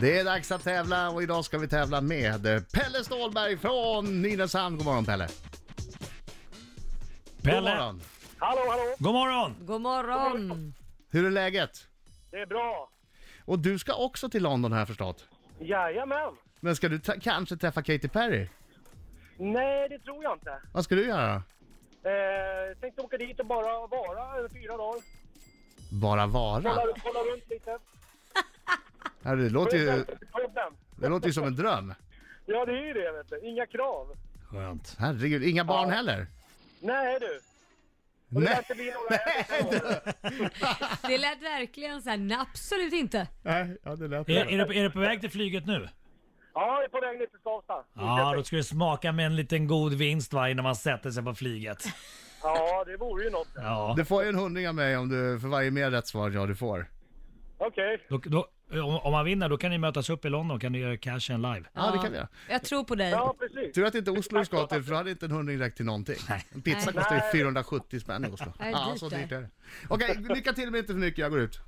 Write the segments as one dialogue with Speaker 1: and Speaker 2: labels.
Speaker 1: Det är dags att tävla och idag ska vi tävla med Pelle Stålberg från Nynäshamn. God morgon Pelle! God
Speaker 2: Pelle,
Speaker 1: morgon.
Speaker 3: Hallå, hallå!
Speaker 2: god morgon!
Speaker 4: God morgon!
Speaker 1: Hur är läget?
Speaker 3: Det är bra.
Speaker 1: Och du ska också till London har jag förstått.
Speaker 3: Jajamän!
Speaker 1: Men ska du ta- kanske träffa Katy Perry?
Speaker 3: Nej, det tror jag inte.
Speaker 1: Vad ska du göra då?
Speaker 3: Eh, tänkte åka dit och bara vara över fyra dagar.
Speaker 1: Bara vara?
Speaker 3: Kolla, kolla runt lite.
Speaker 1: Ja, Det låter, ju,
Speaker 3: Podden.
Speaker 1: det låter ju som en dröm.
Speaker 3: Ja, det är ju det, vet du. Inga krav.
Speaker 2: Skönt.
Speaker 1: Herregud, inga barn heller?
Speaker 3: Nej, du. Och det lär
Speaker 1: Nej!
Speaker 3: inte bli några Nej,
Speaker 4: Det lät verkligen så här, nej, absolut inte.
Speaker 1: Nej, ja det lät
Speaker 2: Är, är, du, är du på väg till flyget nu?
Speaker 3: Ja, jag är på väg ner till Skavsta.
Speaker 2: Ja, då ska du smaka med en liten god vinst va, innan man sätter sig på flyget.
Speaker 3: ja, det vore ju något.
Speaker 2: Ja.
Speaker 1: Du får ju en hundring av mig om du, för varje mer rätt svar ja, du får.
Speaker 3: Okej.
Speaker 2: Då, då, om, om man vinner, då kan ni mötas upp i London kan ni göra cashen live.
Speaker 1: Ja, det kan vi göra.
Speaker 4: Jag tror på dig.
Speaker 3: Ja, precis.
Speaker 1: Tur att inte Oslo du ska till, för då hade inte en hundring räckt till någonting. En pizza
Speaker 4: Nej.
Speaker 1: kostar ju 470 spänn i Oslo.
Speaker 4: Nej,
Speaker 1: Ja,
Speaker 4: dyrt
Speaker 1: så
Speaker 4: där.
Speaker 1: dyrt är det. Okej, lycka till men inte för mycket, jag går ut.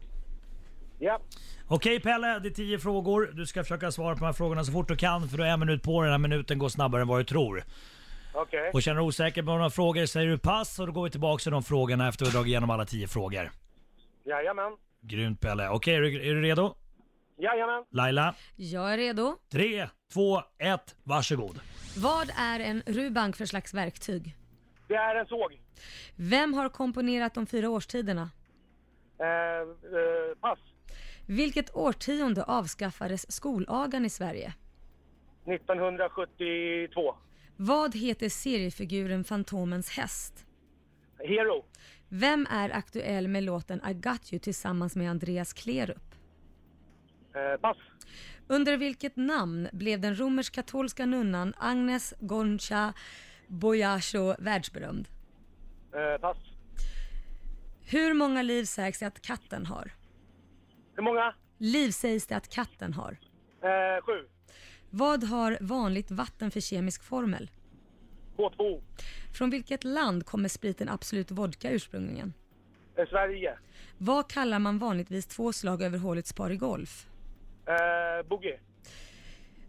Speaker 3: Ja.
Speaker 2: Okej Pelle, det är tio frågor. Du ska försöka svara på de här frågorna så fort du kan för du har en minut på dig. Den här minuten går snabbare än vad du tror.
Speaker 3: Okej.
Speaker 2: Och känner du osäker på några frågor säger du pass och då går vi tillbaka till de frågorna efter vi har dragit igenom alla tio frågor.
Speaker 3: Jajamän.
Speaker 2: Grymt Pelle. Okej, är, du- är du redo?
Speaker 3: Jajamän.
Speaker 2: Laila?
Speaker 4: Jag är redo.
Speaker 2: Tre, två, ett, varsågod.
Speaker 4: Vad är en rubank för slags verktyg?
Speaker 3: Det är en såg.
Speaker 4: Vem har komponerat de fyra årstiderna?
Speaker 3: Eh, eh, pass.
Speaker 4: Vilket årtionde avskaffades skolagan i Sverige?
Speaker 3: 1972.
Speaker 4: Vad heter seriefiguren Fantomens häst?
Speaker 3: Hero.
Speaker 4: Vem är aktuell med låten I got you tillsammans med Andreas Klerup?
Speaker 3: Eh, pass.
Speaker 4: Under vilket namn blev den romersk-katolska nunnan Agnes Concha Boyacho världsberömd?
Speaker 3: Eh, pass.
Speaker 4: Hur många liv sägs det att katten har?
Speaker 3: Hur många?
Speaker 4: Liv sägs det att katten har.
Speaker 3: Eh, sju.
Speaker 4: Vad har vanligt vatten för kemisk formel?
Speaker 3: K2.
Speaker 4: Från vilket land kommer spriten Absolut Vodka ursprungligen?
Speaker 3: Eh, Sverige.
Speaker 4: Vad kallar man vanligtvis två slag över hålets par i golf?
Speaker 3: Eh, boogie.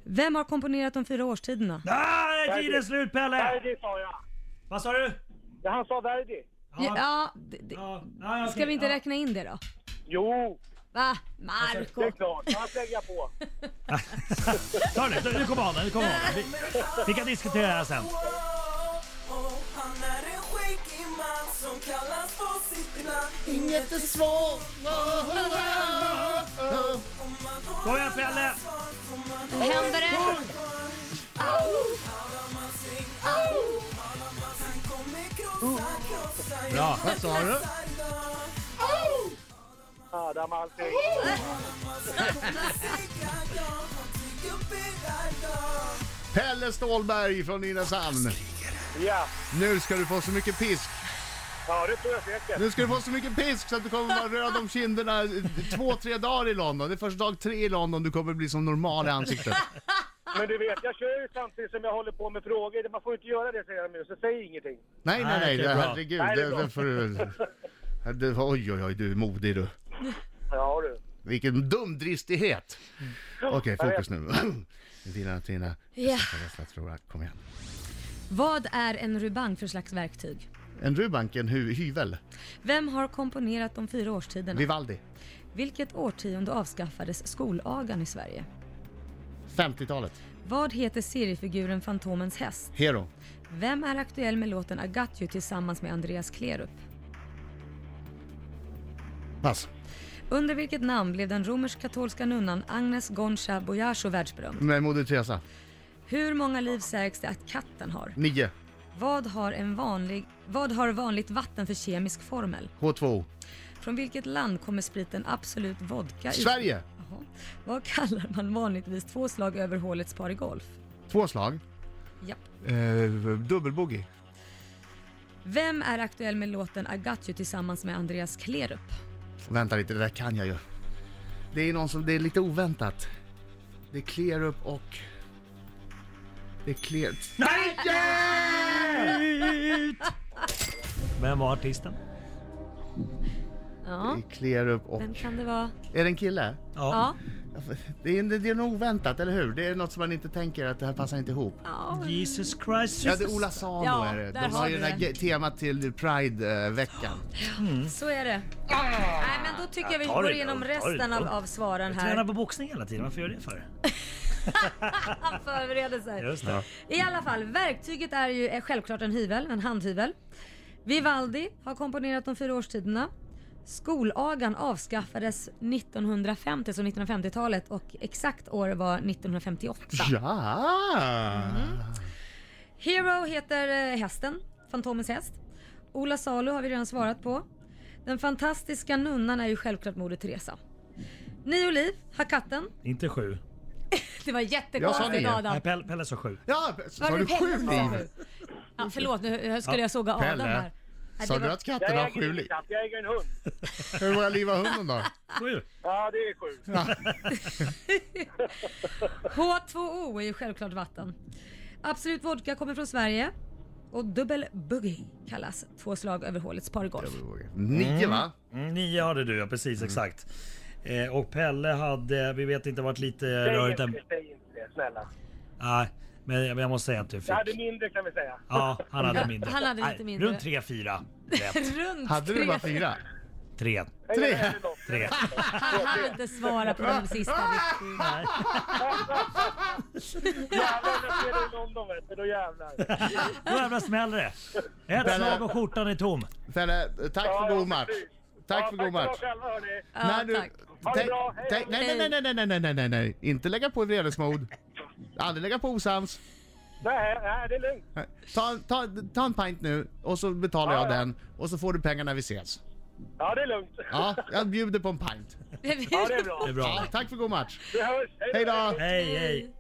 Speaker 4: Vem har komponerat de fyra årstiderna?
Speaker 2: Ah, tiden är slut Pelle!
Speaker 3: Verdi sa jag.
Speaker 2: Vad sa du?
Speaker 3: Ja, han sa Verdi.
Speaker 4: Ja, det, det,
Speaker 2: ja, ja, okej,
Speaker 4: ska vi inte
Speaker 2: ja.
Speaker 4: räkna in det då?
Speaker 3: Jo,
Speaker 4: Va?
Speaker 3: det är
Speaker 4: Marco?
Speaker 3: klart. Han lägger på.
Speaker 2: Ta det nu, nu kommer han, nu kommer han. Vi, vi kan diskutera det här sen.
Speaker 5: Han är en skäggig man som kallas på sitt namn Inget är svårt
Speaker 2: Kom igen, Pelle!
Speaker 4: Händer det?
Speaker 2: Bra.
Speaker 1: Vad sa du?
Speaker 3: Adam allting.
Speaker 1: Pelle Stålberg från Nynäshamn.
Speaker 3: Ja,
Speaker 1: Nu ska du få så mycket pisk.
Speaker 3: ja det tror jag säkert.
Speaker 1: Nu ska du få så mycket pisk så att du kommer vara röd om kinderna eh, två, tre dagar i London. Det är först dag tre i London du kommer bli som normal i ansiktet.
Speaker 3: Men du vet, jag kör ju samtidigt som jag håller på med frågor. Man får inte göra det säger de ju, så säg ingenting.
Speaker 1: Nej, nej,
Speaker 2: Nej,
Speaker 1: nej,
Speaker 2: det är bra.
Speaker 1: herregud.
Speaker 3: Nej, det är
Speaker 1: det-
Speaker 3: bra.
Speaker 1: det får du... Det, oj, oj, oj, du är modig du.
Speaker 3: Ja du.
Speaker 1: Vilken dum dristighet! Okej,
Speaker 3: jag
Speaker 1: fokus nu. Dina, dina,
Speaker 4: Ja.
Speaker 1: nästa fråga. Kom igen.
Speaker 4: Vad är en rubank för slags verktyg?
Speaker 1: En rubank, en hy- hyvel.
Speaker 4: Vem har komponerat de fyra årstiderna?
Speaker 1: Vivaldi.
Speaker 4: Vilket årtionde avskaffades skolagan i Sverige?
Speaker 1: 50-talet.
Speaker 4: Vad heter seriefiguren Fantomens häst?
Speaker 1: Hero.
Speaker 4: Vem är aktuell med låten I got you tillsammans med Andreas Klerup?
Speaker 1: Pass.
Speaker 4: Under vilket namn blev den romersk-katolska nunnan Agnes Concha Boyacho världsberömd?
Speaker 1: Med Moder Teresa.
Speaker 4: Hur många liv sägs det att katten har?
Speaker 1: Nio.
Speaker 4: Vad har, en vanlig, vad har vanligt vatten för kemisk formel?
Speaker 1: H2O.
Speaker 4: Från vilket land kommer spriten Absolut Vodka? ut-
Speaker 1: Sverige.
Speaker 4: Jaha. Vad kallar man vanligtvis två slag över hålets par i golf?
Speaker 1: Två slag.
Speaker 4: Japp.
Speaker 1: Eh, Dubbelboogie.
Speaker 4: Vem är aktuell med låten I got you tillsammans med Andreas Klerup?
Speaker 1: Vänta lite, det där kan jag ju. Det är någon som, det är lite oväntat. Det är clear up och... Det är clear...
Speaker 2: Nej! Ut! Vem var artisten?
Speaker 1: Det
Speaker 4: Ja,
Speaker 1: är clear up och...
Speaker 4: vem kan det vara?
Speaker 1: Är det en kille?
Speaker 2: Ja.
Speaker 4: Ja,
Speaker 1: Det är, det är något oväntat, eller hur? Det är något som man inte tänker att det här passar inte ihop.
Speaker 4: Ja.
Speaker 2: Jesus Christ.
Speaker 1: Ja, det är Ola Salo
Speaker 4: Ja,
Speaker 1: är det.
Speaker 4: där
Speaker 1: De
Speaker 4: har
Speaker 1: har ju
Speaker 4: du
Speaker 1: det där
Speaker 4: det.
Speaker 1: ge- temat till Pride-veckan.
Speaker 4: Så är det. Nej, men då tycker jag vi
Speaker 2: Ah! Ta det
Speaker 4: går
Speaker 2: då,
Speaker 4: igenom
Speaker 2: ta det
Speaker 4: resten
Speaker 2: då.
Speaker 4: av, av svaren
Speaker 2: Tränar
Speaker 4: här.
Speaker 2: på boxning hela tiden, varför gör du det för?
Speaker 4: Förberedelser.
Speaker 2: Just det.
Speaker 4: I alla fall, verktyget är ju eh, självklart en hyvel, en handhyvel. Vivaldi har komponerat de fyra årstiderna. Skolagan avskaffades 1950, så 1950-talet och exakt år var 1958.
Speaker 1: Ja!
Speaker 4: Mm. Hero heter eh, hästen, Fantomens häst. Ola Salo har vi redan svarat på. Den fantastiska nunnan är ju självklart Moder Teresa. Nio liv har katten.
Speaker 2: Inte sju.
Speaker 4: Det var
Speaker 1: Jag
Speaker 4: jättekonstigt
Speaker 1: sa nio.
Speaker 4: Adam.
Speaker 2: Nej, Pelle, Pelle sa sju.
Speaker 1: Ja, sa
Speaker 4: Var
Speaker 1: du
Speaker 4: det
Speaker 1: sju
Speaker 4: Pelle som sa
Speaker 1: liv?
Speaker 4: sju? Ja, förlåt, nu skulle jag såga
Speaker 1: Pelle.
Speaker 4: Adam här. Nej,
Speaker 1: Sa
Speaker 4: det
Speaker 1: du
Speaker 4: var-
Speaker 1: att katten
Speaker 3: Jag
Speaker 1: har
Speaker 3: äger
Speaker 1: sju
Speaker 3: ingen
Speaker 1: liv?
Speaker 3: katt, jag äger en hund.
Speaker 1: Hur många liv har hunden då?
Speaker 2: Sju.
Speaker 3: Ja, det är sjukt.
Speaker 4: H2O är ju självklart vatten. Absolut Vodka kommer från Sverige. Och dubbel boogie kallas två slag över hålets pargolf.
Speaker 1: Nio va?
Speaker 2: Mm, nio hade du ja, precis exakt. Eh, och Pelle hade, vi vet inte, varit lite
Speaker 3: Säg
Speaker 2: rörigt
Speaker 3: inte
Speaker 2: än.
Speaker 3: det, säg inte det, snälla.
Speaker 2: Nej, men jag jag måste säga att du
Speaker 3: Jag hade
Speaker 2: fick.
Speaker 3: mindre kan vi säga.
Speaker 2: Ja, han hade mindre.
Speaker 4: Han hade lite
Speaker 2: Nej,
Speaker 4: mindre.
Speaker 2: Runt tre, fyra. Rätt.
Speaker 4: Runt
Speaker 1: Hade du
Speaker 4: tre-
Speaker 1: bara fyra?
Speaker 2: Tre.
Speaker 3: Jag
Speaker 1: Tre.
Speaker 3: gillar hellre dem.
Speaker 2: Tre.
Speaker 4: Han hade svarat på den sista.
Speaker 3: Jävlar, när jag ser dig i London vet du, då jävlar.
Speaker 2: Då jävlar smäller det. Ett slag och skjortan är tom.
Speaker 1: Pelle, tack
Speaker 3: Ja,
Speaker 1: för
Speaker 3: ja,
Speaker 1: god match.
Speaker 3: precis.
Speaker 1: Tack
Speaker 3: Ja,
Speaker 1: för god match.
Speaker 3: Tack själva hörni.
Speaker 4: Ja, tack.
Speaker 3: Ha det
Speaker 1: tänk-
Speaker 3: bra, hej.
Speaker 1: tänk- nej, nej, nej, nej, nej, nej, nej, nej, nej, inte lägga på vredesmod. Aldrig lägga på osams.
Speaker 3: Nej, nej, det är lugnt.
Speaker 1: Ta, ta, ta en pint nu och så betalar jag
Speaker 3: Ja, ja.
Speaker 1: den och så får du pengar när vi ses.
Speaker 3: Ja, det är lugnt.
Speaker 1: Ja, jag bjuder på en pint.
Speaker 3: Ja, det är bra.
Speaker 2: Det är bra.
Speaker 1: Ja, tack för god match.
Speaker 3: Vi hörs.
Speaker 1: Hej då!
Speaker 2: Hej, hej.